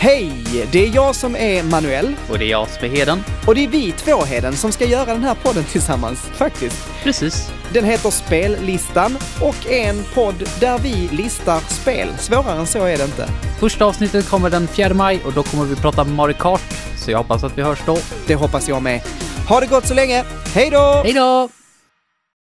Hej! Det är jag som är Manuel Och det är jag som är Heden. och det är vi två Heden som ska göra den här podden tillsammans, faktiskt. Precis. Den heter Spellistan och är en podd där vi listar spel. Svårare än så är det inte. Första avsnittet kommer den 4 maj och då kommer vi prata Mario Kart. Så jag hoppas att vi hörs då. Det hoppas jag med. Ha det gott så länge. Hej då! Hej då!